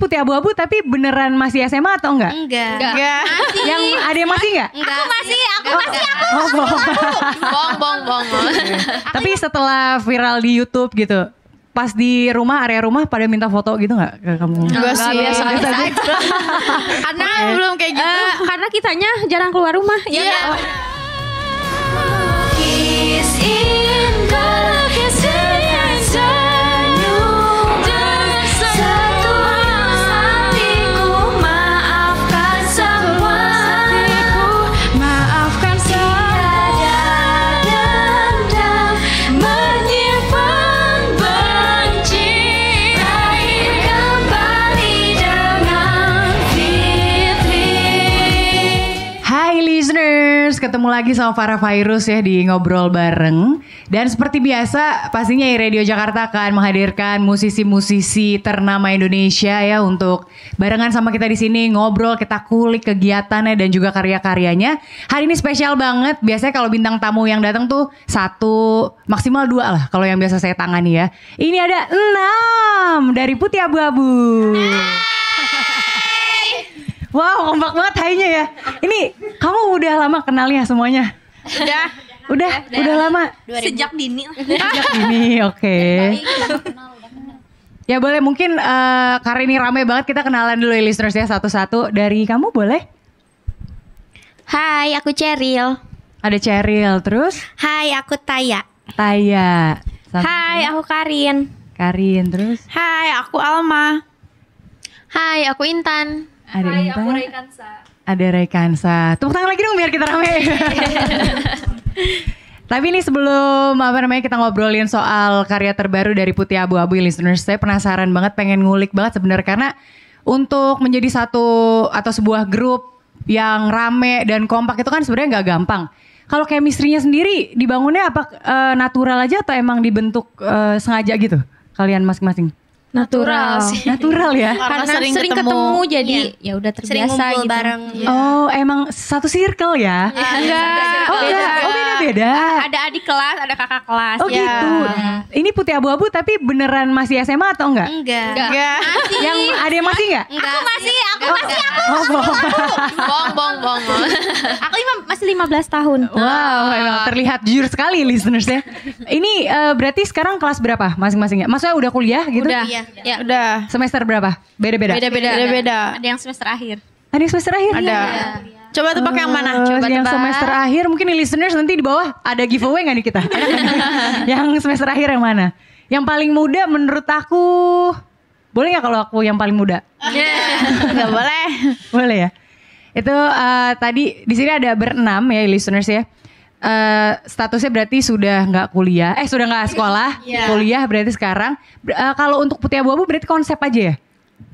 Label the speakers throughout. Speaker 1: putih abu-abu tapi beneran masih SMA atau enggak?
Speaker 2: Enggak.
Speaker 3: Enggak.
Speaker 1: Yang ada yang masih
Speaker 4: Iya.
Speaker 1: enggak?
Speaker 2: Enggak.
Speaker 3: Aku masih, aku masih, aku.
Speaker 1: Oh, bohong.
Speaker 3: Bong, bong, bong.
Speaker 1: tapi setelah viral di YouTube gitu, pas di rumah area rumah pada minta foto gitu nggak ke kamu?
Speaker 4: Enggak sih.
Speaker 3: biasa
Speaker 4: Biasa
Speaker 3: aja.
Speaker 4: Karena belum kayak gitu.
Speaker 2: Eh, karena kitanya jarang keluar rumah. Ya.
Speaker 3: Iya.
Speaker 4: oh,
Speaker 2: nggak?
Speaker 1: Hai listeners, ketemu lagi sama Farah Virus ya di Ngobrol Bareng. Dan seperti biasa, pastinya ya Radio Jakarta akan menghadirkan musisi-musisi ternama Indonesia ya untuk barengan sama kita di sini ngobrol, kita kulik kegiatannya dan juga karya-karyanya. Hari ini spesial banget. Biasanya kalau bintang tamu yang datang tuh satu, maksimal dua lah kalau yang biasa saya tangani ya. Ini ada enam dari Putih Abu-Abu. Wow, kompak banget hainya ya. Ini kamu udah lama kenalnya semuanya?
Speaker 4: Udah.
Speaker 1: Udah, udah, lama.
Speaker 3: Sejak dini lah.
Speaker 1: Sejak dini, oke. Ya boleh mungkin eh, karena ini rame banget kita kenalan dulu ya listeners ya satu-satu dari kamu boleh?
Speaker 3: Hai, aku Cheryl.
Speaker 1: Ada Cheryl, terus
Speaker 3: Hai, aku Taya.
Speaker 1: Taya, sama
Speaker 3: Hai, aku Karin.
Speaker 1: Karin, terus
Speaker 4: Hai, aku Alma.
Speaker 2: Hai, aku Intan.
Speaker 1: ada Intan, ada Rekansa. Tepuk tangan lagi dong biar kita rame. Tapi ini sebelum apa namanya kita ngobrolin soal karya terbaru dari Putih Abu-Abu ya, listeners, saya penasaran banget, pengen ngulik banget sebenarnya karena untuk menjadi satu atau sebuah grup yang rame dan kompak itu kan sebenarnya nggak gampang. Kalau chemistry-nya sendiri dibangunnya apa eh, natural aja atau emang dibentuk eh, sengaja gitu kalian masing-masing?
Speaker 2: Natural. sih.
Speaker 1: Natural ya.
Speaker 4: Karena
Speaker 2: Karena
Speaker 4: sering
Speaker 2: sering,
Speaker 4: ketemu.
Speaker 2: ketemu. jadi ya udah
Speaker 3: Sering
Speaker 2: terbiasa
Speaker 3: ngumpul
Speaker 2: gitu.
Speaker 3: bareng.
Speaker 1: Oh, emang satu circle ya?
Speaker 2: Iya. Enggak.
Speaker 1: Oh, beda. Oh, beda-beda.
Speaker 2: Ada adik kelas, ada kakak kelas.
Speaker 1: Oh,
Speaker 2: ya.
Speaker 1: gitu. Ini putih abu-abu tapi beneran masih SMA atau enggak?
Speaker 3: Enggak.
Speaker 4: Enggak.
Speaker 1: Yang ada yang masih enggak?
Speaker 3: Aku masih, aku masih.
Speaker 1: Oh, bohong.
Speaker 4: Bong, bong, bong.
Speaker 2: Aku lima- masih 15 tahun.
Speaker 1: Wow, emang terlihat jujur sekali listeners ya. Ini eh, berarti sekarang kelas berapa masing-masingnya? Maksudnya udah kuliah gitu?
Speaker 2: Udah.
Speaker 3: Iya.
Speaker 2: Ya.
Speaker 4: Udah.
Speaker 1: Semester berapa? Beda-beda?
Speaker 2: Beda-beda.
Speaker 4: Beda-beda.
Speaker 2: Ada yang semester akhir.
Speaker 1: Ada Iya. yang semester akhir?
Speaker 4: Ada. Coba tebak yang mana?
Speaker 1: Eh,
Speaker 4: Ah, Coba
Speaker 1: yang
Speaker 4: tebak.
Speaker 1: semester akhir mungkin nih listeners nanti di bawah ada giveaway nggak nih kita? Ada nggak nih? yang semester akhir yang mana? Yang paling muda menurut aku boleh nggak kalau aku yang paling muda?
Speaker 4: Enggak boleh.
Speaker 1: Boleh ya. Itu eh, tadi di sini ada berenam ya listeners ya. Eh, statusnya berarti sudah nggak kuliah, eh sudah nggak sekolah, kuliah berarti sekarang. Ber- eh, kalau untuk putih abu-abu berarti konsep aja ya.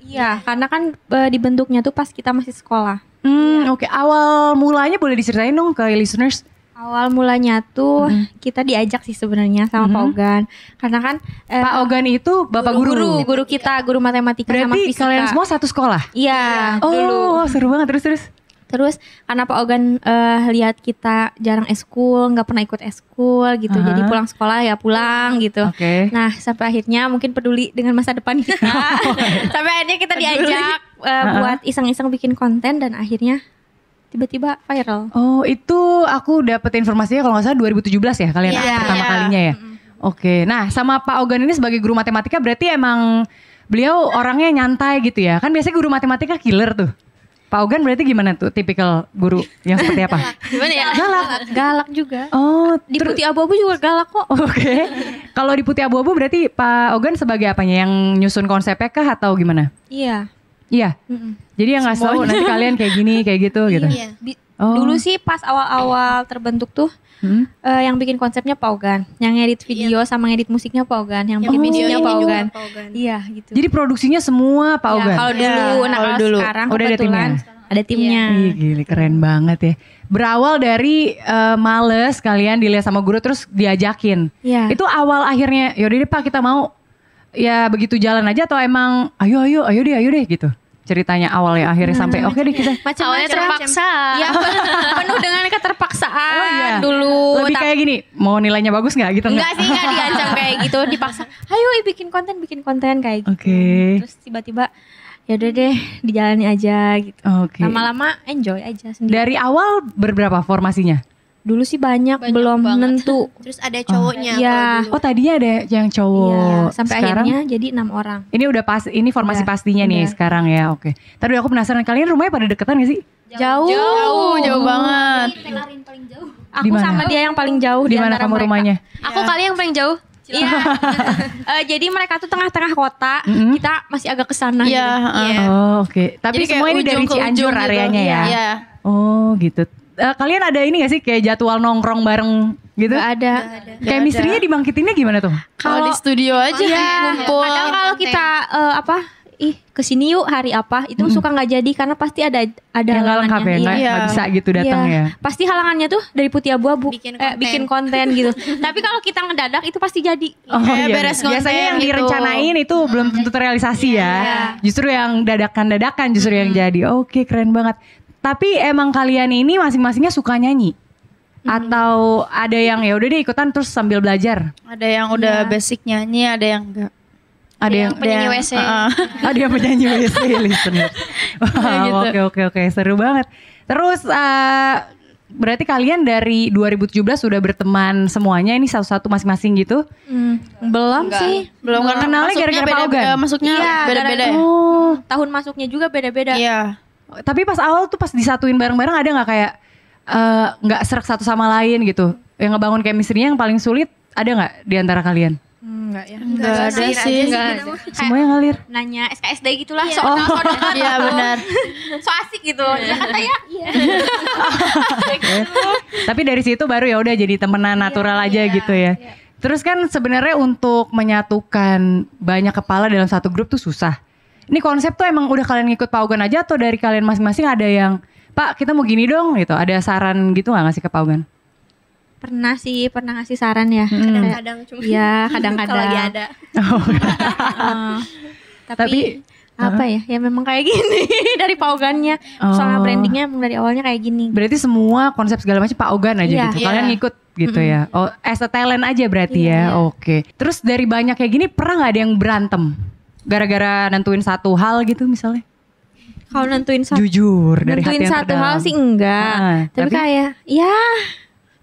Speaker 2: Iya, karena kan eh, dibentuknya tuh pas kita masih sekolah.
Speaker 1: Hmm, oke. Awal mulanya boleh diceritain dong ke listeners.
Speaker 2: Awal mulanya tuh kita diajak sih sebenarnya sama Pak Ogan. Karena kan eh,
Speaker 1: Pak Ogan itu bapak guru.
Speaker 2: guru, guru kita, guru matematika sama
Speaker 1: Berarti
Speaker 2: fisika.
Speaker 1: kalian semua satu sekolah.
Speaker 2: Iya,
Speaker 1: Oh,
Speaker 2: dulu.
Speaker 1: seru banget terus terus.
Speaker 2: Terus karena Pak Ogan eh, lihat kita jarang eskul, nggak pernah ikut eskul gitu.
Speaker 1: Aha.
Speaker 2: Jadi pulang sekolah ya pulang gitu.
Speaker 1: Oke.
Speaker 2: Nah, sampai akhirnya mungkin peduli dengan masa depan kita.
Speaker 1: Oh.
Speaker 2: sampai akhirnya kita diajak eh, buat iseng-iseng bikin konten dan akhirnya tiba-tiba viral.
Speaker 1: Oh, itu aku dapat informasinya kalau nggak salah 2017 ya kalian
Speaker 3: Iya.
Speaker 1: pertama
Speaker 4: Iya.
Speaker 1: kalinya ya. Oke. Nah, sama Pak Ogan ini sebagai guru matematika berarti emang beliau orangnya nyantai gitu ya. Kan biasanya guru matematika killer tuh. Pak Ogan berarti gimana tuh tipikal guru yang seperti apa?
Speaker 3: Gimana ya?
Speaker 1: Galak.
Speaker 2: Galak juga.
Speaker 1: Oh,
Speaker 2: Iya. Di
Speaker 1: ter-
Speaker 2: putih abu-abu juga galak kok.
Speaker 1: Oke. Kalau di putih abu-abu berarti Pak Ogan sebagai apanya? Yang nyusun konsepnya kah atau gimana?
Speaker 2: Iya.
Speaker 1: Iya.
Speaker 2: Mm-mm.
Speaker 1: Jadi yang nggak tahu nanti kalian kayak gini, kayak gitu gitu.
Speaker 3: Iya.
Speaker 2: Bi-
Speaker 1: Oh.
Speaker 2: Dulu sih pas awal-awal terbentuk tuh
Speaker 1: Hmm?
Speaker 2: eh, yang bikin konsepnya Pak Ogan, yang ngedit video sama ngedit musiknya Pak Ogan, Iya. yang bikin
Speaker 3: Bikin
Speaker 2: videonya Pak
Speaker 3: juga
Speaker 2: Ogan.
Speaker 3: Paugan.
Speaker 2: Iya gitu.
Speaker 1: Jadi produksinya semua Pak
Speaker 2: Ya,
Speaker 1: Ogan.
Speaker 2: kalau
Speaker 4: Iya,
Speaker 2: dulu, nah
Speaker 4: kalau
Speaker 2: kalau
Speaker 4: dulu.
Speaker 2: sekarang
Speaker 1: Udah ada
Speaker 2: kebetulan ada timnya.
Speaker 1: Iya gila keren banget ya. Berawal dari eh, males kalian dilihat sama guru terus diajakin.
Speaker 2: Iya.
Speaker 1: Itu awal akhirnya yaudah deh Pak kita mau ya begitu jalan aja atau emang ayo ayo ayo deh ayo deh gitu. ceritanya awalnya akhirnya sampai oke deh kita
Speaker 2: Macam-macam.
Speaker 5: Awalnya terpaksa.
Speaker 2: Iya, penuh, penuh dengan keterpaksaan
Speaker 1: Oh, iya.
Speaker 2: Ah, dulu.
Speaker 1: lebih
Speaker 2: tapi-
Speaker 1: kayak gini mau nilainya bagus nggak gitu
Speaker 2: Enggak sih, enggak diancam kayak gitu, dipaksa. Ayo i, bikin konten, bikin konten kayak gitu.
Speaker 1: Oke.
Speaker 2: Terus tiba-tiba ya udah deh, dijalani aja gitu.
Speaker 1: Oke.
Speaker 2: Lama-lama enjoy aja sendiri.
Speaker 1: Dari awal berberapa formasinya?
Speaker 2: Dulu sih banyak,
Speaker 5: Banyak
Speaker 2: belum
Speaker 5: banget.
Speaker 2: nentu.
Speaker 3: Terus ada cowoknya.
Speaker 2: Iya.
Speaker 3: kalau
Speaker 4: Gitu.
Speaker 3: dulu.
Speaker 1: Oh tadinya ada yang cowok.
Speaker 2: Iya, sampai
Speaker 1: Oh, sekarang,
Speaker 2: akhirnya jadi enam orang.
Speaker 1: Ini udah pas, ini formasi
Speaker 4: Iya,
Speaker 2: Udah,
Speaker 1: pastinya nih
Speaker 2: udah.
Speaker 1: sekarang ya. Oke. Tadi aku penasaran kalian rumahnya pada deketan gak sih?
Speaker 2: Jauh.
Speaker 4: Jauh, Oh, jauh banget.
Speaker 1: Di
Speaker 2: Aku
Speaker 1: mana?
Speaker 2: sama dia yang paling jauh
Speaker 1: Di mana
Speaker 2: antara
Speaker 1: kamu
Speaker 2: mereka.
Speaker 1: rumahnya?
Speaker 5: Aku kali yang paling jauh.
Speaker 2: Iya. Eh, jadi mereka tuh tengah-tengah kota,
Speaker 1: Mm-mm.
Speaker 2: kita masih agak kesana.
Speaker 4: Iya,
Speaker 2: gitu.
Speaker 4: heeh.
Speaker 1: Oh oke. Tapi
Speaker 4: Jadi kayak
Speaker 1: semua ini
Speaker 4: ujung
Speaker 1: dari
Speaker 4: ke ujung
Speaker 1: Cianjur
Speaker 4: gitu.
Speaker 1: areanya ya.
Speaker 4: Iya.
Speaker 1: Oh gitu. Eh, kalian ada ini gak sih kayak jadwal nongkrong bareng gitu?
Speaker 2: Gak ada.
Speaker 1: Kayak
Speaker 4: ada.
Speaker 1: misterinya dibangkitinnya gimana tuh?
Speaker 4: Kalau di studio aja ngumpul.
Speaker 2: Iya, Kadang kalau kita eh, apa? Ih, kesini yuk hari apa? Itu suka nggak jadi karena pasti ada ada
Speaker 1: yang gak lengkap ya,
Speaker 2: halangannya.
Speaker 1: nggak
Speaker 2: Iya.
Speaker 1: nggak bisa gitu datang
Speaker 2: Iya.
Speaker 1: ya.
Speaker 2: Pasti halangannya tuh dari putih abu-abu.
Speaker 3: Bikin
Speaker 2: Eh,
Speaker 3: konten.
Speaker 2: bikin konten gitu. Tapi kalau kita ngedadak itu pasti jadi.
Speaker 1: Oh,
Speaker 4: Kayak
Speaker 1: iya.
Speaker 4: beres konten
Speaker 1: Biasanya yang
Speaker 4: gitu.
Speaker 1: direncanain itu belum tentu terrealisasi
Speaker 2: Iya.
Speaker 1: ya. Justru yang dadakan-dadakan justru yang jadi. Oke, keren banget. Tapi emang kalian ini masing-masingnya suka nyanyi? Atau ada yang ya udah deh ikutan terus sambil belajar?
Speaker 4: Ada yang udah basic nyanyi, ada yang enggak.
Speaker 1: Ada
Speaker 4: Iya,
Speaker 1: yang
Speaker 5: penyanyi
Speaker 4: Dan-
Speaker 5: WC.
Speaker 4: Heeh.
Speaker 1: ada yang penyanyi WC listener.
Speaker 4: Ya,
Speaker 1: Wow,
Speaker 4: gitu.
Speaker 1: oke oke oke, seru banget. Terus eh, berarti kalian dari 2017 sudah berteman semuanya ini satu-satu masing-masing gitu?
Speaker 2: Hmm, belum sih.
Speaker 4: Belum karena
Speaker 1: Kenalnya
Speaker 4: masuknya
Speaker 1: gara-gara
Speaker 4: beda-
Speaker 1: Paugan?
Speaker 4: eh, Masuknya
Speaker 2: Iya,
Speaker 4: beda-beda. ya?
Speaker 1: Oh,
Speaker 2: Tahun masuknya juga beda-beda.
Speaker 4: Iya.
Speaker 1: tapi pas awal tuh pas disatuin bareng-bareng ada nggak kayak eh, nggak serak satu sama lain gitu? Yang ngebangun chemistry yang paling sulit ada nggak di antara kalian?
Speaker 2: Enggak ya.
Speaker 4: Enggak ada sih.
Speaker 1: Semuanya ngalir.
Speaker 2: Nanya SKSD gitulah. So, so,
Speaker 4: Iya benar.
Speaker 2: so asik gitu. Jakarta ya.
Speaker 1: Ya. Tapi dari situ baru ya udah jadi temenan natural aja gitu ya. Terus kan sebenarnya untuk menyatukan banyak kepala dalam satu grup tuh susah. Ini konsep tuh emang udah kalian ngikut paugan aja atau dari kalian masing-masing ada yang Pak kita mau gini dong gitu. Ada saran gitu nggak ngasih ke paugan?
Speaker 2: Pernah sih, pernah ngasih saran ya.
Speaker 3: Kadang-kadang cuma.
Speaker 2: Iya, kadang-kadang.
Speaker 3: Kalau lagi ada.
Speaker 2: Heeh. tapi
Speaker 1: Tapi-
Speaker 2: apa ya? Ya memang kayak gini dari paugannya. Soalnya
Speaker 1: Oh.
Speaker 2: brandingnya emang dari awalnya kayak gini.
Speaker 1: Berarti semua konsep segala macam paugan aja
Speaker 2: Iya. iya.
Speaker 1: gitu. Kalian ngikut gitu ya. Oh, as a talent aja berarti ya. Oke. Terus dari banyak kayak gini pernah nggak ada yang berantem? Gara-gara nentuin satu hal gitu misalnya?
Speaker 2: Kalau nentuin satu
Speaker 1: jujur dari hati
Speaker 2: nentuin
Speaker 1: yang
Speaker 2: satu
Speaker 1: terdalam.
Speaker 2: hal sih enggak.
Speaker 1: Ah, tapi-
Speaker 2: tapi, kayak ya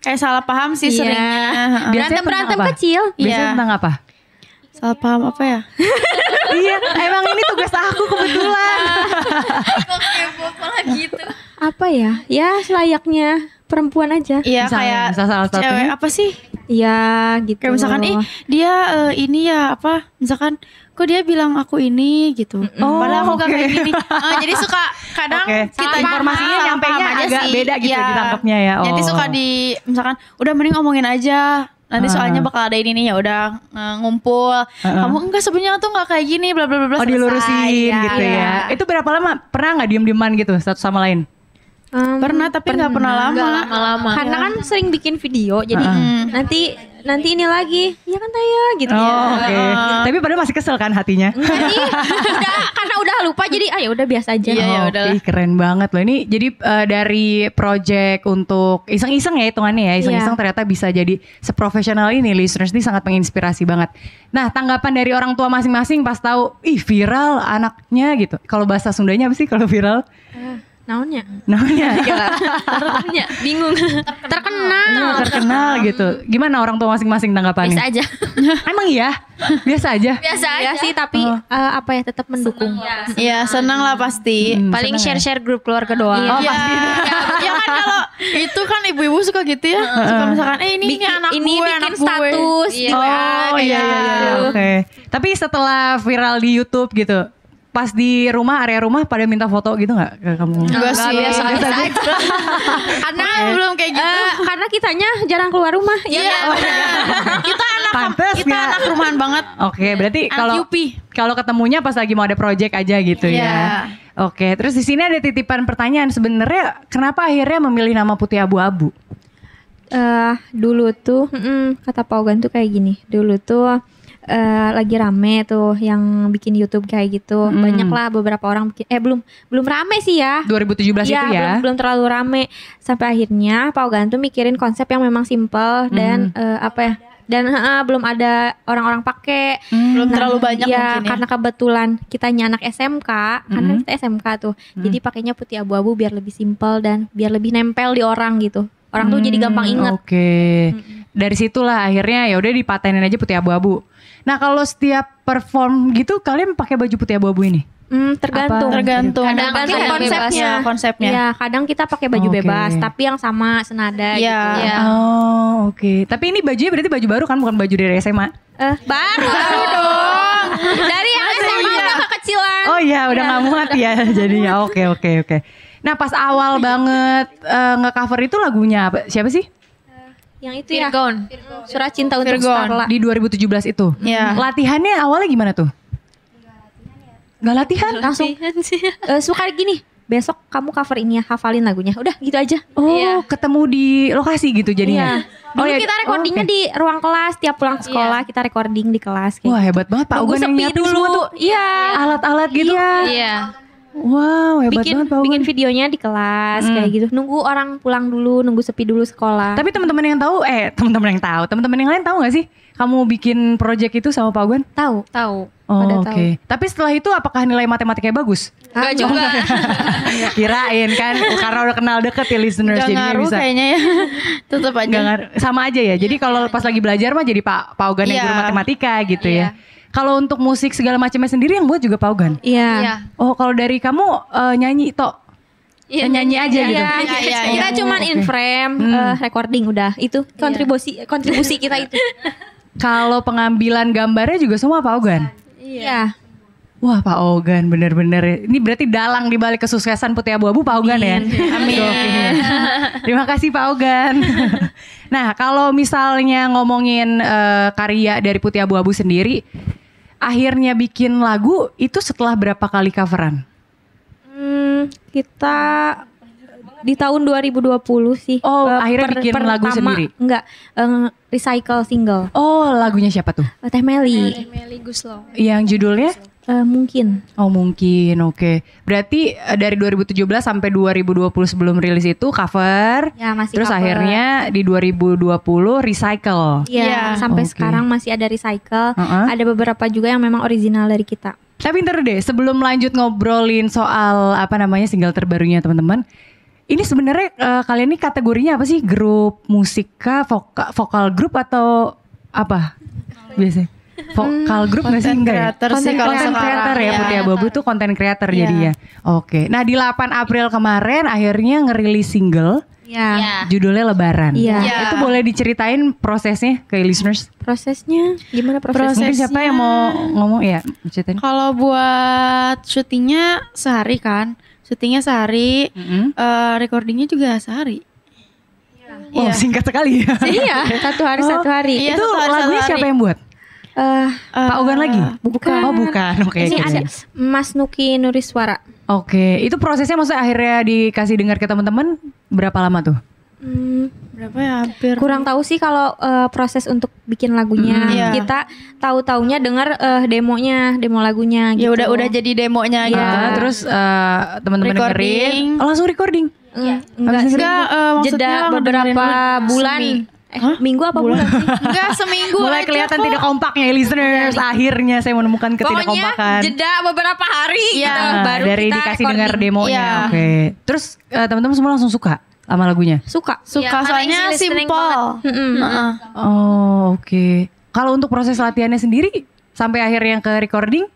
Speaker 4: Kayak Eh, salah paham sih
Speaker 2: Iya.
Speaker 4: seringnya. Heeh.
Speaker 1: Biasanya
Speaker 2: berantem-berantem
Speaker 1: tentang apa?
Speaker 2: kecil.
Speaker 1: biasanya
Speaker 4: Iya.
Speaker 1: tentang apa
Speaker 4: Salah paham apa ya?
Speaker 1: iya emang ini tugas aku kebetulan
Speaker 2: Apa ya? Ya selayaknya perempuan aja.
Speaker 4: Iya
Speaker 1: Misalnya,
Speaker 4: kayak
Speaker 1: misal salah satunya. Oh.
Speaker 4: cewek apa sih?
Speaker 1: Iya,
Speaker 2: Ya gitu.
Speaker 4: Kayak misalkan ih dia eh, ini ya apa? Misalkan kok dia bilang aku ini gitu.
Speaker 1: Oh,
Speaker 4: Padahal aku gak
Speaker 1: oke.
Speaker 4: kayak gini. Eh, jadi suka kadang
Speaker 1: Oke.
Speaker 4: kita
Speaker 1: Salah informasinya
Speaker 4: salah
Speaker 1: nyampainya
Speaker 4: paham aja
Speaker 1: agak
Speaker 4: sih.
Speaker 1: beda gitu
Speaker 4: Iya.
Speaker 1: ditangkapnya ya.
Speaker 4: Jadi
Speaker 1: Oh.
Speaker 4: suka di misalkan udah mending ngomongin aja. Nanti
Speaker 1: Ah.
Speaker 4: soalnya bakal ada ini nih ya udah eh, ngumpul. Kamu enggak sebenarnya tuh nggak kayak gini bla bla bla bla.
Speaker 1: oh
Speaker 4: selesai.
Speaker 1: dilurusin
Speaker 4: Iya.
Speaker 1: gitu ya itu berapa lama pernah nggak diem dieman gitu satu sama lain
Speaker 2: Em,
Speaker 4: Pernah tapi nggak pernah lama.
Speaker 5: Lama-lama.
Speaker 2: karena kan
Speaker 4: Iya.
Speaker 2: sering bikin video jadi nanti nanti ini lagi. Ya kan Taya gitu ya.
Speaker 1: oh oke tapi padahal masih kesel kan hatinya
Speaker 2: Jadi udah karena udah lupa jadi ah ya udah biasa aja.
Speaker 4: Iya, ya
Speaker 1: Oh, ih,
Speaker 4: udahlah.
Speaker 1: keren banget loh ini. Jadi eh, dari project untuk iseng-iseng ya hitungannya ya, iseng-iseng
Speaker 2: Iya.
Speaker 1: ternyata bisa jadi seprofesional ini listeners ini sangat menginspirasi banget. Nah, tanggapan dari orang tua masing-masing pas tahu ih viral anaknya gitu. Kalau bahasa Sundanya apa sih kalau viral?
Speaker 2: Naonnya?
Speaker 1: Namanya
Speaker 2: Terkenal. Bingung. Terkenal.
Speaker 1: Nah, terkenal gitu. Gimana orang tua masing-masing tanggapannya?
Speaker 5: Biasa aja.
Speaker 1: Emang iya? Biasa aja.
Speaker 5: Biasa
Speaker 2: Iya
Speaker 5: aja.
Speaker 2: sih tapi
Speaker 1: Oh.
Speaker 2: eh, apa ya tetap mendukung.
Speaker 4: Iya senang lah pasti.
Speaker 1: Hmm, seneng
Speaker 5: Paling
Speaker 1: ya?
Speaker 5: share-share grup keluarga doang.
Speaker 1: Oh,
Speaker 4: Iya.
Speaker 1: pasti.
Speaker 4: ya kan kalau itu kan ibu-ibu suka gitu ya. Suka misalkan eh ini, ini anak
Speaker 2: ini
Speaker 4: gue,
Speaker 2: bikin
Speaker 4: anak gue.
Speaker 2: status di
Speaker 5: Iya.
Speaker 1: Oh
Speaker 2: WA
Speaker 4: kayak
Speaker 1: iya iya iya, iya,
Speaker 4: gitu.
Speaker 1: oke. Tapi setelah viral di YouTube gitu, pas di rumah area rumah pada minta foto gitu nggak ke kamu?
Speaker 4: Enggak sih. Biasa aja.
Speaker 2: karena
Speaker 4: belum kayak gitu.
Speaker 2: eh, karena kitanya jarang keluar rumah. ya
Speaker 4: Iya. benar. kita anak
Speaker 1: Pantes
Speaker 4: kita
Speaker 1: nggak?
Speaker 4: anak rumahan banget.
Speaker 1: Oke, berarti
Speaker 4: Anak
Speaker 1: kalau
Speaker 4: Yupi.
Speaker 1: kalau ketemunya pas lagi mau ada project aja gitu
Speaker 4: Iya.
Speaker 1: ya. Oke, terus di sini ada titipan pertanyaan sebenarnya kenapa akhirnya memilih nama putih abu-abu?
Speaker 2: Eh, dulu tuh mm-mm, kata Paugan tuh kayak gini. Dulu tuh eh, lagi rame tuh yang bikin YouTube kayak gitu.
Speaker 1: Mm.
Speaker 2: Banyak lah beberapa orang bikin eh belum belum rame sih ya.
Speaker 1: 2017 itu
Speaker 2: Iya,
Speaker 1: ya.
Speaker 2: belum, belum terlalu rame sampai akhirnya Pak Ogan tuh mikirin konsep yang memang simple dan eh, apa ya? Dan eh, belum ada orang-orang pakai
Speaker 1: Hmm.
Speaker 4: belum
Speaker 2: Nah,
Speaker 4: terlalu banyak
Speaker 2: iya,
Speaker 4: mungkin ya.
Speaker 2: karena kebetulan kitanya anak SMK, karena kan kita SMK tuh. Jadi pakainya putih abu-abu biar lebih simpel dan biar lebih nempel di orang gitu. Orang tuh jadi gampang
Speaker 1: Hmm,
Speaker 2: inget.
Speaker 1: Oke. Dari situlah akhirnya ya udah dipatenin aja putih abu-abu. Nah, kalau setiap perform gitu kalian pakai baju putih abu-abu ini?
Speaker 2: Hmm, tergantung.
Speaker 4: tergantung
Speaker 5: Kadang-
Speaker 4: Pakai
Speaker 5: kadang
Speaker 4: konsepnya
Speaker 2: bebas.
Speaker 4: konsepnya
Speaker 2: Iya, kadang kita pakai baju
Speaker 1: Oke.
Speaker 2: bebas, tapi yang sama senada
Speaker 4: Iya.
Speaker 2: gitu.
Speaker 5: Iya.
Speaker 1: Oh, oke. Tapi ini bajunya berarti baju baru kan bukan baju dari SMA.
Speaker 2: Eh, baru, baru dong. Dari yang SMA udah kekecilan.
Speaker 1: Oh iya, udah nggak muat ya jadinya. Oke, oke, oke. Nah, pas awal banget eh, nge-cover itu lagunya apa? Siapa sih?
Speaker 2: Yang itu ya,
Speaker 5: Virgon.
Speaker 2: surat cinta untuk
Speaker 4: Virgon.
Speaker 2: Starla.
Speaker 1: Di 2017 itu.
Speaker 4: Iya.
Speaker 1: Latihannya awalnya gimana tuh? Gak latihan langsung.
Speaker 2: Eh, suka gini, besok kamu cover ini ya, hafalin lagunya. Udah gitu aja.
Speaker 1: Oh, ketemu di lokasi gitu jadinya.
Speaker 2: Iya. Dulu
Speaker 1: Oh,
Speaker 2: kita recordingnya di ruang kelas tiap pulang sekolah kita recording di kelas kayak. gitu.
Speaker 1: Wah, hebat banget Pak
Speaker 2: Nunggu
Speaker 1: Ugan yang
Speaker 2: sepi
Speaker 1: nyiapin
Speaker 2: dulu.
Speaker 1: semua tuh
Speaker 2: Iya.
Speaker 1: alat-alat gitu.
Speaker 5: Iya.
Speaker 1: Wow, hebat
Speaker 2: Bikin
Speaker 1: banget Pak Ugan.
Speaker 2: bikin videonya di kelas
Speaker 1: Hmm.
Speaker 2: kayak gitu. Nunggu orang pulang dulu, nunggu sepi dulu sekolah.
Speaker 1: Tapi teman-teman yang tahu eh teman-teman yang tahu, teman-teman yang lain tahu gak sih kamu bikin project itu sama Pak Ugan?
Speaker 2: tahu.
Speaker 5: Tahu.
Speaker 1: Oh,
Speaker 2: Pada
Speaker 1: oke.
Speaker 2: tahu.
Speaker 1: Tapi setelah itu apakah nilai matematikanya bagus?
Speaker 2: Ah,
Speaker 5: Enggak juga.
Speaker 1: Kirain kan karena udah kenal deket ya listeners
Speaker 4: Gak
Speaker 1: jadinya
Speaker 4: ngaruh
Speaker 1: bisa.
Speaker 4: kayaknya ya Tutup aja
Speaker 1: Nggak ngaruh. sama aja ya.
Speaker 2: Iya,
Speaker 1: Jadi kalau pas lagi belajar mah jadi Pak Pak Ugan yang
Speaker 4: Iya.
Speaker 1: guru matematika gitu ya.
Speaker 5: Iya.
Speaker 1: Kalau untuk musik segala macamnya sendiri yang buat juga Pak Ugan.
Speaker 2: Iya.
Speaker 5: Iya.
Speaker 1: Oh, kalau dari kamu eh, nyanyi tok.
Speaker 5: Iya,
Speaker 1: nyanyi aja gitu.
Speaker 2: Iya,
Speaker 4: Iya, iya, iya.
Speaker 2: kita cuman in frame eh, recording udah itu kontribusi kontribusi kita itu.
Speaker 1: Kalau pengambilan gambarnya juga semua Pak Ogan.
Speaker 2: Iya.
Speaker 1: Wah Pak Ogan bener-bener Ini berarti dalang di balik kesuksesan Putih Abu-Abu Pak Ogan ya Amin Terima kasih Pak Ogan Nah kalau misalnya ngomongin eh, karya dari Putih Abu-Abu sendiri Akhirnya bikin lagu itu setelah berapa kali coveran?
Speaker 2: Hmm, kita di tahun 2020 sih.
Speaker 1: Oh,
Speaker 2: Eh,
Speaker 1: akhirnya bikin lagu sendiri?
Speaker 2: Enggak, eh, recycle single.
Speaker 1: Oh lagunya siapa tuh?
Speaker 2: Eh, Teh Meli.
Speaker 5: Meli Guslow.
Speaker 1: Yang judulnya?
Speaker 2: Eh, mungkin.
Speaker 1: Oh mungkin oke Berarti eh, dari 2017 sampai 2020 sebelum rilis itu cover
Speaker 2: Ya, masih
Speaker 1: Terus
Speaker 2: cover.
Speaker 1: akhirnya di 2020 recycle
Speaker 2: Iya,
Speaker 4: Iya.
Speaker 2: sampai
Speaker 1: Oke.
Speaker 2: sekarang masih ada recycle.
Speaker 1: Heeh.
Speaker 2: Ada beberapa juga yang memang original dari kita.
Speaker 1: Tapi ntar deh, sebelum lanjut ngobrolin soal apa namanya single terbarunya teman-teman. Ini sebenarnya eh, kalian ini kategorinya apa sih? Grup musik kah, voka- vokal grup atau apa? Biasanya.
Speaker 2: Hmm.
Speaker 1: Vokal grup nggak sih?
Speaker 4: Content
Speaker 1: Enggak ya?
Speaker 4: creator sih
Speaker 1: Content-
Speaker 4: kalau
Speaker 1: content
Speaker 4: sekarang,
Speaker 1: creator ya,
Speaker 4: ya.
Speaker 1: Putih Abu-Abu tuh content creator
Speaker 4: Iya.
Speaker 1: jadinya. Oke. Nah, di 8 April kemarin akhirnya ngerilis single
Speaker 2: Iya.
Speaker 1: judulnya Lebaran.
Speaker 2: Iya.
Speaker 4: Iya.
Speaker 1: Itu boleh diceritain prosesnya ke listeners?
Speaker 2: Prosesnya gimana prosesnya?
Speaker 1: Mungkin siapa yang mau ngomong ya? Ceritain.
Speaker 4: Kalau buat syutingnya sehari kan Syutingnya sehari
Speaker 1: Mm-mm.
Speaker 4: eh, Recordingnya juga sehari
Speaker 1: Oh singkat sekali ya.
Speaker 2: Iya, satu hari satu hari.
Speaker 4: Iya,
Speaker 1: itu
Speaker 4: satu hari, satu
Speaker 1: lagunya
Speaker 4: hari.
Speaker 1: siapa yang buat?
Speaker 2: Eh,
Speaker 1: Pak Ogan lagi?
Speaker 2: bukan.
Speaker 1: Oh bukan. Oke.
Speaker 2: ini
Speaker 1: oke.
Speaker 2: ada Mas Nuki Nuriswara.
Speaker 1: Oke, itu prosesnya maksudnya akhirnya dikasih dengar ke teman-teman berapa lama tuh?
Speaker 2: Hmm,
Speaker 4: Berapa ya hampir
Speaker 2: kurang tahu sih kalau eh, proses untuk bikin lagunya.
Speaker 4: Mm, iya.
Speaker 2: Kita tahu taunya dengar eh, demonya, demo lagunya gitu.
Speaker 4: Ya udah udah jadi demonya
Speaker 2: Iya.
Speaker 4: gitu
Speaker 1: Ah, terus eh, teman-teman
Speaker 4: Recording.
Speaker 1: dengerin, oh, langsung recording.
Speaker 2: Mm, enggak
Speaker 4: Habis
Speaker 2: sih.
Speaker 4: enggak, eh, maksudnya
Speaker 2: jeda
Speaker 4: ngedengerin
Speaker 2: beberapa
Speaker 4: dulu.
Speaker 2: bulan.
Speaker 4: Semi-
Speaker 2: Eh, minggu apa bulan, sih?
Speaker 4: Enggak seminggu
Speaker 1: Mulai
Speaker 4: aja
Speaker 1: kelihatan
Speaker 4: kok.
Speaker 1: tidak kompaknya ya, listeners. Akhirnya saya menemukan
Speaker 2: Iya. Pokoknya
Speaker 1: ketidakkompakan.
Speaker 2: jeda beberapa hari
Speaker 4: Iya.
Speaker 2: gitu,
Speaker 1: Ah,
Speaker 2: baru
Speaker 1: dari
Speaker 2: kita
Speaker 1: dikasih
Speaker 2: recording.
Speaker 1: dengar demonya.
Speaker 4: Iya.
Speaker 1: Oke. Terus eh, teman-teman semua langsung suka sama lagunya.
Speaker 2: Suka. Iya.
Speaker 4: Suka
Speaker 5: Iya,
Speaker 4: Nah.
Speaker 5: karena
Speaker 4: soalnya
Speaker 5: easy listening Hmm.
Speaker 4: simple
Speaker 2: Mm-mm.
Speaker 4: Heeh.
Speaker 1: Oh, oke. Kalau untuk proses latihannya sendiri sampai akhirnya ke recording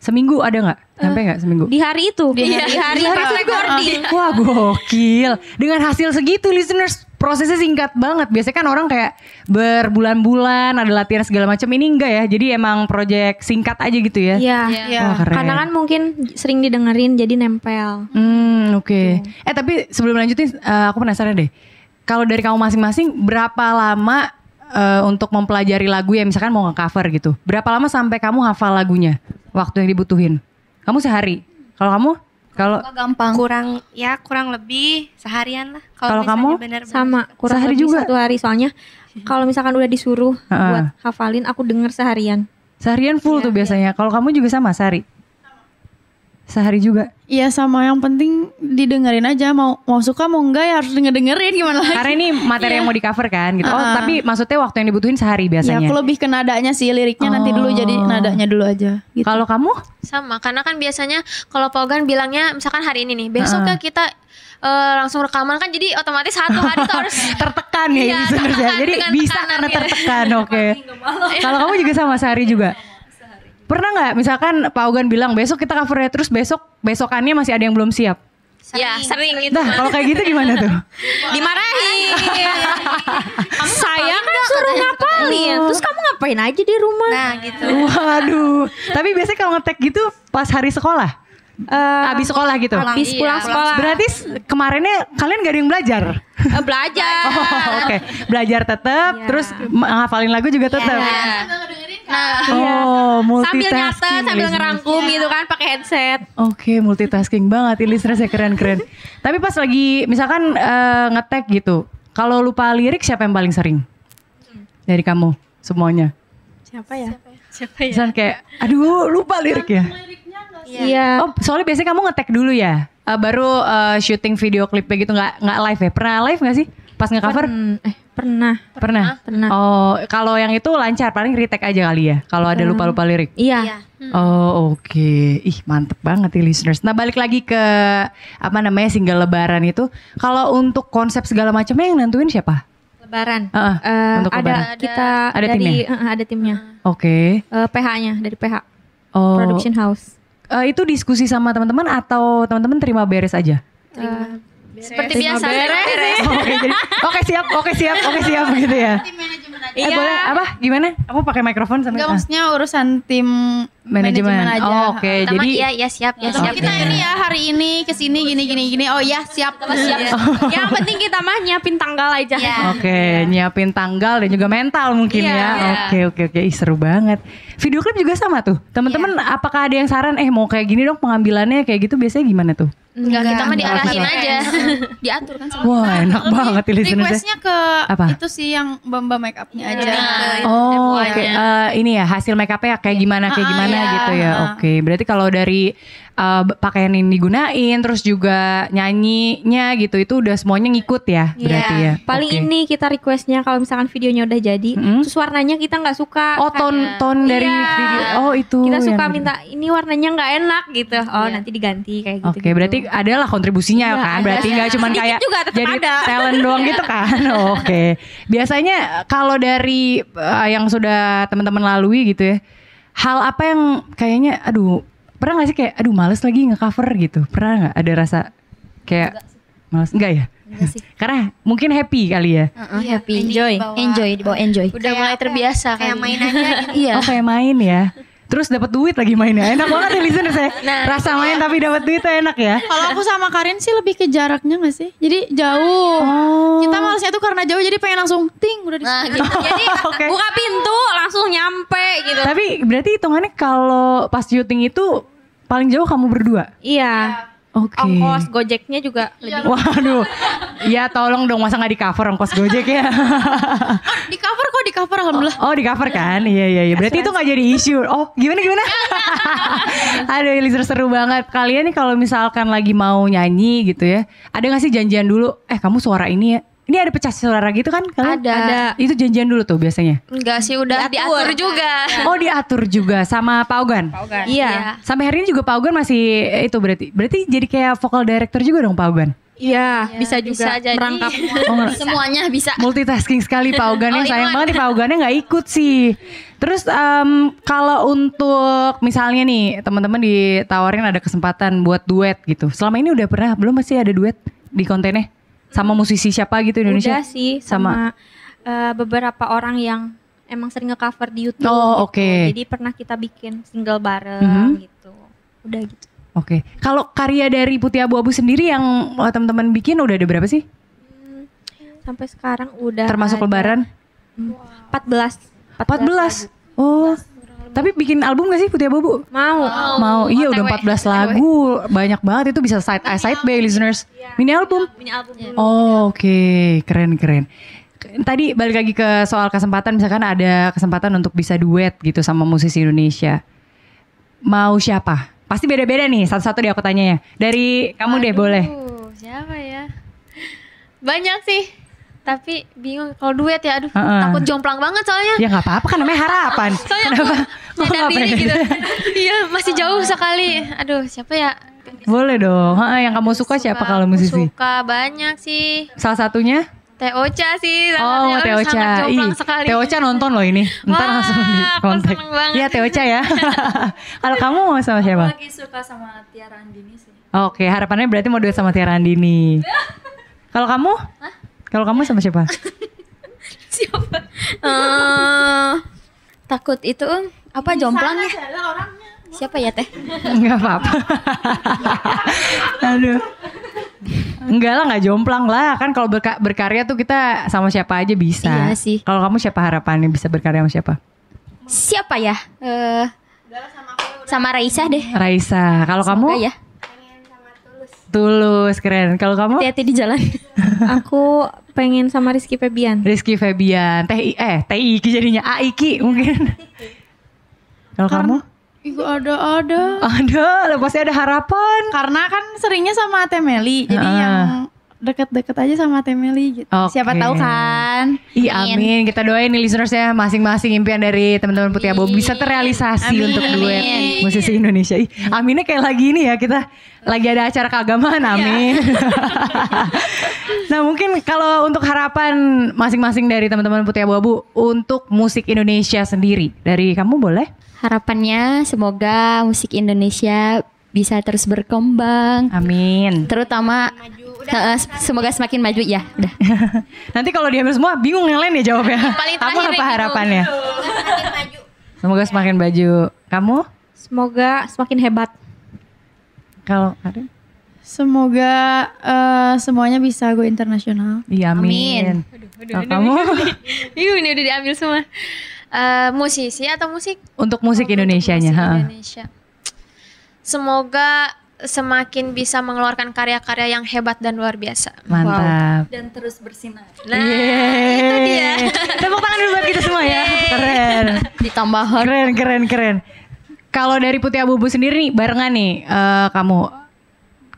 Speaker 1: seminggu ada nggak? Sampai nggak seminggu?
Speaker 2: Di hari itu, di
Speaker 4: hari Iya.
Speaker 2: hari, pas recording.
Speaker 1: Wah gokil Dengan hasil segitu listeners Prosesnya singkat banget Biasanya kan orang kayak Berbulan-bulan Ada latihan segala macam Ini enggak ya Jadi emang project singkat aja gitu ya
Speaker 2: Iya.
Speaker 4: Iya.
Speaker 1: Wah keren
Speaker 2: Karena kan mungkin sering didengerin jadi nempel.
Speaker 1: Hmm oke
Speaker 4: Gitu.
Speaker 1: Eh tapi sebelum lanjutin eh, Aku penasaran deh Kalau dari kamu masing-masing Berapa lama eh, Untuk mempelajari lagu ya Misalkan mau nge-cover gitu Berapa lama sampai kamu hafal lagunya Waktu yang dibutuhin Kamu sehari Kalau kamu Kalau
Speaker 5: Gampang.
Speaker 3: kurang ya kurang lebih seharian lah
Speaker 1: Kalau
Speaker 3: kalau
Speaker 1: kamu?
Speaker 3: misalnya benar-benar
Speaker 2: sama kurang
Speaker 1: Sehari
Speaker 2: lebih
Speaker 1: juga?
Speaker 2: satu hari soalnya kalau misalkan udah disuruh
Speaker 1: Heeh.
Speaker 2: buat hafalin aku denger seharian
Speaker 1: Seharian
Speaker 4: Iya,
Speaker 1: full tuh biasanya. Kalau kamu juga sama sehari? Sehari juga.
Speaker 4: Iya sama yang penting didengerin aja mau mau suka mau enggak ya harus denger dengerin gimana lagi.
Speaker 1: Karena ini materi
Speaker 4: Iya.
Speaker 1: yang mau di cover kan gitu. Oh,
Speaker 4: Ah.
Speaker 1: tapi maksudnya waktu yang dibutuhin sehari
Speaker 4: Ya
Speaker 1: biasanya.
Speaker 4: aku lebih ke nadanya sih liriknya nanti dulu jadi
Speaker 1: Oh.
Speaker 4: nadanya dulu aja. Gitu.
Speaker 1: Kalau kamu?
Speaker 5: Sama, karena kan biasanya kalau Pogan bilangnya misalkan hari ini nih, besok
Speaker 1: Ah.
Speaker 5: ya kita eh, langsung rekaman kan jadi otomatis satu hari tuh harus
Speaker 1: tertekan ya
Speaker 5: Iya,
Speaker 1: listeners ya.
Speaker 5: tertekan
Speaker 1: Jadi
Speaker 5: dengan
Speaker 1: bisa
Speaker 5: tekanan
Speaker 1: karena
Speaker 5: gitu.
Speaker 1: tertekan, oke. Kalau kamu juga sama sehari juga. Pernah nggak misalkan Pak Ogan bilang besok kita covernya terus besok besokannya masih ada yang belum siap.
Speaker 5: ya sering gitu.
Speaker 1: Nah kalau kayak gitu gimana tuh?
Speaker 2: Dimarahin. Saya kan suruh ngapalin. Iya, Terus kamu ngapain aja di rumah?
Speaker 3: Nah gitu.
Speaker 1: Waduh. Tapi biasanya kalau ngetek gitu pas hari sekolah,
Speaker 2: Eh,
Speaker 1: habis sekolah gitu.
Speaker 2: habis
Speaker 5: Iya,
Speaker 2: pulang
Speaker 5: pulang
Speaker 2: sekolah.
Speaker 1: Berarti s- kemarinnya kalian gak ada yang belajar.
Speaker 2: Eh, belajar.
Speaker 1: Oh, oke. Belajar tetap,
Speaker 2: Iya.
Speaker 1: terus hafalin lagu juga tetap. Oh, multitasking.
Speaker 2: Iya. Sambil nyatet, sambil
Speaker 1: listeners.
Speaker 2: ngerangkum gitu kan pakai headset.
Speaker 1: Oke, multitasking banget. Ini listenersnya keren-keren. Tapi pas lagi misalkan eh, ngetek gitu, kalau lupa lirik siapa yang paling sering? Dari kamu semuanya.
Speaker 2: Siapa ya?
Speaker 1: Misalkan kayak, aduh lupa lirik ya.
Speaker 2: Iya.
Speaker 1: Oh, soalnya biasanya kamu ngetek dulu ya, Eh, baru eh, syuting video klipnya gitu nggak nggak live ya? Pernah live nggak sih? Pas ngecover?
Speaker 2: Hmm, eh, pernah.
Speaker 1: Pernah.
Speaker 2: Pernah.
Speaker 1: Oh, kalau yang itu lancar, paling retake aja kali ya. Kalau ada lupa-lupa lirik.
Speaker 2: Iya.
Speaker 1: Oh oke, ih mantep banget nih listeners. Nah balik lagi ke apa namanya single Lebaran itu, kalau untuk konsep segala macamnya yang nentuin siapa?
Speaker 2: Lebaran.
Speaker 1: Heeh,
Speaker 2: Eh,
Speaker 1: untuk
Speaker 2: ada
Speaker 1: lebaran.
Speaker 2: kita
Speaker 1: Ada
Speaker 2: dari
Speaker 1: timnya?
Speaker 2: eh, ada timnya.
Speaker 1: Oke.
Speaker 2: Eh, PH-nya dari PH
Speaker 1: Oh,
Speaker 2: Production House.
Speaker 1: eh, itu diskusi sama teman-teman atau teman-teman terima beres aja?
Speaker 5: Seperti biasa. beres.
Speaker 1: oke jadi, oke siap, oke siap, oke siap gitu ya. Eh, boleh apa? Gimana? Kamu pakai mikrofon sama?
Speaker 4: Enggak
Speaker 1: ah,
Speaker 4: maksudnya urusan tim
Speaker 1: manajemen.
Speaker 4: manajemen, aja.
Speaker 1: Oh, oke,
Speaker 5: Teman,
Speaker 1: jadi
Speaker 5: iya, iya siap, ya
Speaker 1: Oke.
Speaker 5: siap.
Speaker 4: Kita ini ya hari ini ke sini gini gini gini. Oh ya, siap.
Speaker 2: Iya. Yang penting kita mah nyiapin tanggal aja.
Speaker 1: Oke, nyiapin tanggal dan juga mental mungkin
Speaker 2: Iya.
Speaker 1: ya. Oke, oke, oke. Ih, seru banget. Video klip juga sama tuh. Teman-teman,
Speaker 2: Iya.
Speaker 1: apakah ada yang saran eh mau kayak gini dong pengambilannya kayak gitu biasanya gimana tuh?
Speaker 5: Enggak, kita mah
Speaker 1: Enggak.
Speaker 5: diarahin aja.
Speaker 2: Diatur kan.
Speaker 1: Wah, enak banget nih listenersnya.
Speaker 4: Requestnya ke
Speaker 1: Apa?
Speaker 4: itu sih yang bamba make upnya
Speaker 5: Iya.
Speaker 4: aja.
Speaker 1: Oh, oke. Eh, ini ya hasil make upnya kayak gimana kayak
Speaker 4: Ah,
Speaker 1: gimana
Speaker 4: iya.
Speaker 1: gitu ya.
Speaker 4: Ah.
Speaker 1: Oke, berarti kalau dari eh, pakaian yang digunain, terus juga nyanyinya gitu, itu udah semuanya ngikut ya, berarti ya.
Speaker 2: Iya. Paling
Speaker 1: Oke.
Speaker 2: ini kita requestnya kalau misalkan videonya udah jadi,
Speaker 1: Mm-mm.
Speaker 2: terus warnanya kita nggak suka.
Speaker 1: Oh, ton ton dari
Speaker 2: Iya.
Speaker 1: video. Oh, itu.
Speaker 2: kita
Speaker 1: yang
Speaker 2: suka
Speaker 1: gitu.
Speaker 2: minta ini warnanya nggak enak gitu. Oh nanti diganti kayak gitu.
Speaker 1: Oke, berarti adalah kontribusinya kan? Berarti nggak cuman
Speaker 2: Sedikit
Speaker 1: kayak
Speaker 2: Iya. juga, tetap
Speaker 1: jadi
Speaker 2: ada.
Speaker 1: talent doang gitu kan? Oke. Biasanya kalau dari eh, yang sudah teman-teman lalui gitu ya, hal apa yang kayaknya, aduh, pernah nggak sih kayak, aduh, males lagi ngecover gitu? Pernah nggak ada rasa kayak males? Enggak ya? Karena mungkin happy kali ya.
Speaker 3: happy. Enjoy.
Speaker 6: Enjoy, dibawa enjoy.
Speaker 5: Udah mulai terbiasa
Speaker 3: Kayak
Speaker 5: kali.
Speaker 3: mainannya gitu.
Speaker 2: Iya.
Speaker 1: Oh kayak main ya. Terus dapat duit lagi mainnya. Enak banget ya listener saya.
Speaker 2: Nah,
Speaker 1: Rasa main tapi dapat duit tuh enak ya.
Speaker 4: Kalau aku sama Karin sih lebih ke jaraknya gak sih? Jadi jauh.
Speaker 1: Oh.
Speaker 4: Kita malesnya tuh karena jauh jadi pengen langsung ting udah di
Speaker 5: Nah, gitu. Jadi
Speaker 1: Oke.
Speaker 2: Buka pintu langsung nyampe gitu.
Speaker 1: Tapi berarti hitungannya kalau pas syuting itu paling jauh kamu berdua.
Speaker 2: Iya.
Speaker 1: Oke. Iya,
Speaker 2: Ongkos gojeknya juga lebih.
Speaker 1: Waduh. Ya tolong dong masa nggak di cover ongkos Gojek ya.
Speaker 2: Oh,
Speaker 4: Di cover kok di cover alhamdulillah.
Speaker 1: Oh di cover kan? Iya iya iya. Berarti itu nggak jadi isu. Oh gimana gimana? Aduh listener seru banget. Kalian nih kalau misalkan lagi mau nyanyi gitu ya, ada nggak sih janjian dulu? Eh kamu suara ini ya. Ini ada pecah suara gitu kan? Kalian?
Speaker 5: Ada.
Speaker 1: Itu janjian dulu tuh biasanya.
Speaker 5: enggak sih udah diatur, juga.
Speaker 1: Oh diatur juga sama Pak Ogan.
Speaker 2: Iya.
Speaker 1: Sampai hari ini juga Pak Ogan masih eh, itu berarti. Berarti jadi kayak vokal director juga dong Pak Ogan.
Speaker 2: Iya, bisa juga
Speaker 5: bisa jadi.
Speaker 2: merangkap.
Speaker 1: Oh, nggak-
Speaker 5: Semuanya bisa.
Speaker 1: multitasking sekali Pak Ogan ya. sayang banget nih Pak Ogannya nggak ikut sih. Terus em, kalau untuk misalnya nih teman-teman ditawarin ada kesempatan buat duet gitu. Selama ini udah pernah belum masih ada duet di kontennya sama musisi siapa gitu Indonesia?
Speaker 2: Udah sih sama, eh, beberapa orang yang emang sering nge-cover di YouTube.
Speaker 1: Oh,
Speaker 2: gitu.
Speaker 1: oke.
Speaker 2: Jadi pernah kita bikin single bareng gitu. Udah gitu.
Speaker 1: Oke. Kalau karya dari Putih Abu-abu sendiri yang eh, teman-teman bikin udah ada berapa sih?
Speaker 2: Sampai sekarang udah
Speaker 1: Termasuk
Speaker 2: ada Hmm.
Speaker 1: Lebaran? 14.
Speaker 2: 14.
Speaker 1: Oh. Tapi bikin album gak sih Putih Abu-abu?
Speaker 2: Mau.
Speaker 1: Mau iya
Speaker 5: Oh,
Speaker 1: udah 14 lagu banyak banget itu bisa
Speaker 5: Iya.
Speaker 1: side A side B listeners mini album
Speaker 2: Punya album dulu.
Speaker 1: oh, oke keren keren tadi balik lagi ke soal kesempatan misalkan ada kesempatan untuk bisa duet gitu sama musisi Indonesia. Mau siapa? Pasti beda-beda nih satu-satu deh aku tanya ya. Dari kamu deh
Speaker 5: Waduh,
Speaker 1: boleh.
Speaker 5: Siapa ya? Banyak sih. Tapi bingung kalau duet ya aduh
Speaker 1: Heeh.
Speaker 5: takut jomplang banget soalnya.
Speaker 1: Ya nggak apa-apa kan namanya harapan.
Speaker 5: Soalnya aku nyadar
Speaker 1: Kenapa Ah.
Speaker 5: diri
Speaker 1: ya?
Speaker 5: gitu. iya, masih jauh sekali. Aduh, siapa ya?
Speaker 1: Boleh dong. Ha, yang kamu suka, siapa kalau
Speaker 5: aku
Speaker 1: musisi?
Speaker 5: Suka banyak sih.
Speaker 1: Salah satunya?
Speaker 5: Teh Ocha sih. salah
Speaker 1: Oh,
Speaker 5: satunya.
Speaker 1: Teh
Speaker 5: Aduh,
Speaker 1: Ocha.
Speaker 5: Sangat jomplang
Speaker 1: Ih,
Speaker 5: sekali.
Speaker 1: Teh Ocha nonton loh ini. Ntar
Speaker 5: Wah,
Speaker 1: langsung di
Speaker 5: aku
Speaker 1: kontak.
Speaker 5: seneng banget.
Speaker 1: Iya, Teh Ocha ya. Kalau kamu mau sama siapa?
Speaker 6: lagi suka sama Tiara Andini sih.
Speaker 1: Oke, harapannya berarti mau duet sama Tiara Andini. Kalau kamu? Kalau kamu sama siapa?
Speaker 5: Ah.
Speaker 2: Eh, takut itu um, apa jomplang ya? Siapa ya teh?
Speaker 1: Enggak apa-apa. Aduh. Enggak lah, nggak jomplang lah. Kan kalau berka- berkarya tuh kita sama siapa aja bisa.
Speaker 2: Iya sih.
Speaker 1: Kalau kamu siapa harapannya bisa berkarya sama siapa?
Speaker 2: Siapa ya? Eh, sama Raisa deh.
Speaker 1: Raisa. Kalau kamu?
Speaker 2: Semoga ya.
Speaker 1: Tulus, keren. Kalau kamu?
Speaker 2: Hati-hati di jalan. Aku pengen sama Rizky Febian.
Speaker 1: Rizky Febian. Teh I- eh Teh Iki jadinya A Iki mungkin. Kalau kamu?
Speaker 4: Iku ada ada.
Speaker 1: Ada, pasti ada harapan.
Speaker 4: Karena kan seringnya sama Temeli, jadi
Speaker 1: Ah.
Speaker 4: yang deket-deket aja sama Temeli gitu.
Speaker 1: Oke.
Speaker 4: Siapa tahu kan?
Speaker 1: Ih amin, kita doain nih listeners ya masing-masing impian dari teman-teman Putih Abu bisa terrealisasi untuk duet musisi Indonesia. Ih, aminnya kayak lagi ini ya kita lagi ada acara keagamaan, amin. nah mungkin kalau untuk harapan masing-masing dari teman-teman Putih Abu Abu untuk musik Indonesia sendiri dari kamu boleh?
Speaker 6: Harapannya semoga musik Indonesia bisa terus berkembang,
Speaker 1: Amin.
Speaker 6: terutama Eh, eh, semoga semakin maju ya. Udah.
Speaker 1: Nanti kalau diambil semua bingung yang lain ya jawabnya.
Speaker 5: paling
Speaker 1: Kamu apa
Speaker 5: terakhir yang
Speaker 1: harapannya? Semoga semakin baju. Kamu?
Speaker 2: Semoga semakin hebat.
Speaker 1: Kalau Karin?
Speaker 4: Semoga eh, semuanya bisa go internasional.
Speaker 1: Iya amin. Kalau kamu?
Speaker 5: Ih, ini udah diambil semua. Eh, musisi atau musik?
Speaker 1: Untuk musik Indonesianya.
Speaker 5: Musik
Speaker 1: ha.
Speaker 5: Indonesia. Semoga semakin bisa mengeluarkan karya-karya yang hebat dan luar biasa.
Speaker 1: Mantap.
Speaker 6: Dan terus bersinar.
Speaker 5: Nah, itu dia.
Speaker 1: Yeay. Tepuk tangan dulu buat kita semua ya. Keren.
Speaker 6: Ditambah
Speaker 1: Keren, keren, keren. Kalau dari Putih Abu Abu sendiri nih, barengan nih eh, kamu.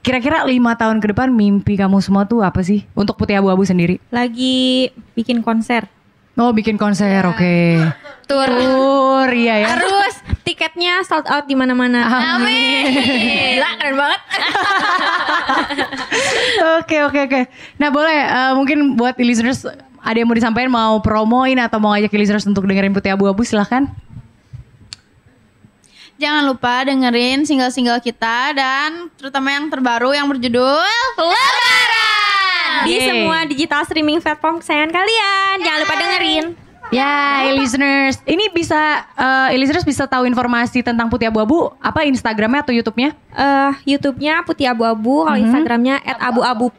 Speaker 1: Kira-kira lima tahun ke depan mimpi kamu semua tuh apa sih? Untuk Putih Abu Abu sendiri.
Speaker 2: Lagi bikin konser.
Speaker 1: Oh bikin konser, oke.
Speaker 2: Tur.
Speaker 1: Tur, iya ya.
Speaker 2: Terus tiketnya sold out di mana-mana.
Speaker 5: Amin.
Speaker 2: Gila keren banget.
Speaker 1: Oke oke oke. Nah boleh eh, mungkin buat listeners ada yang mau disampaikan mau promoin atau mau ngajak listeners untuk dengerin Putih Abu-Abu silahkan.
Speaker 4: Jangan lupa dengerin single-single kita dan terutama yang terbaru yang berjudul
Speaker 2: Di
Speaker 1: Yeay.
Speaker 2: semua digital streaming platform kesayangan kalian. Jangan lupa dengerin.
Speaker 1: Ya, listeners, ini bisa eh, listeners bisa tahu informasi tentang Putih Abu-Abu apa Instagramnya atau YouTube-nya?
Speaker 2: Eh, YouTube-nya Putih Abu-Abu, kalau Instagramnya @abu-abu.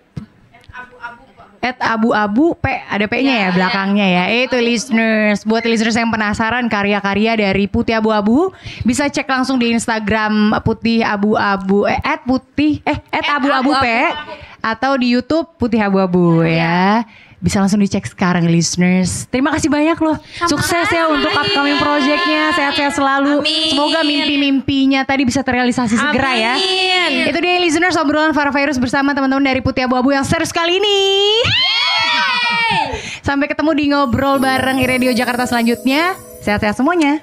Speaker 1: At abu-abu P ada P-nya ya belakangnya ya. Itu listeners. Buat listeners yang penasaran karya-karya dari Putih Abu-abu bisa cek langsung di Instagram Putih Abu-abu eh at putih eh at abu-abu P atau di YouTube Putih Abu-abu ya. Bisa langsung dicek sekarang listeners. Terima kasih banyak loh. Sukses ya untuk upcoming projectnya. Sehat-sehat selalu. Semoga mimpi-mimpinya tadi bisa terrealisasi segera ya. Itu dia listeners obrolan Farah Virus bersama teman-teman dari Putih Abu-abu yang serius kali ini. Sampai ketemu di ngobrol bareng Radio Jakarta selanjutnya. Sehat-sehat semuanya.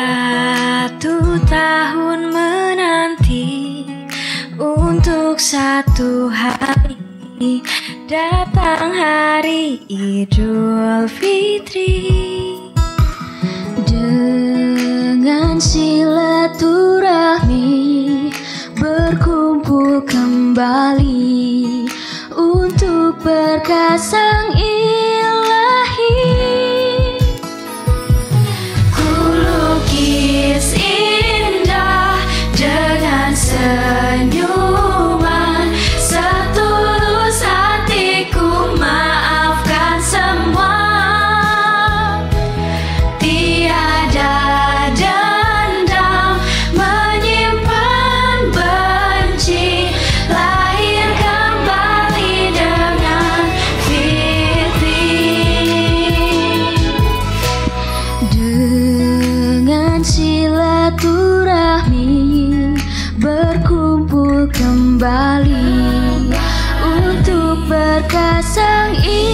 Speaker 6: Satu tahun menanti untuk satu hari datang hari Idul Fitri dengan silaturahmi berkumpul kembali untuk perkasang ilahi. Kulukis indah dengan senyuman setulus kembali untuk berkasang ini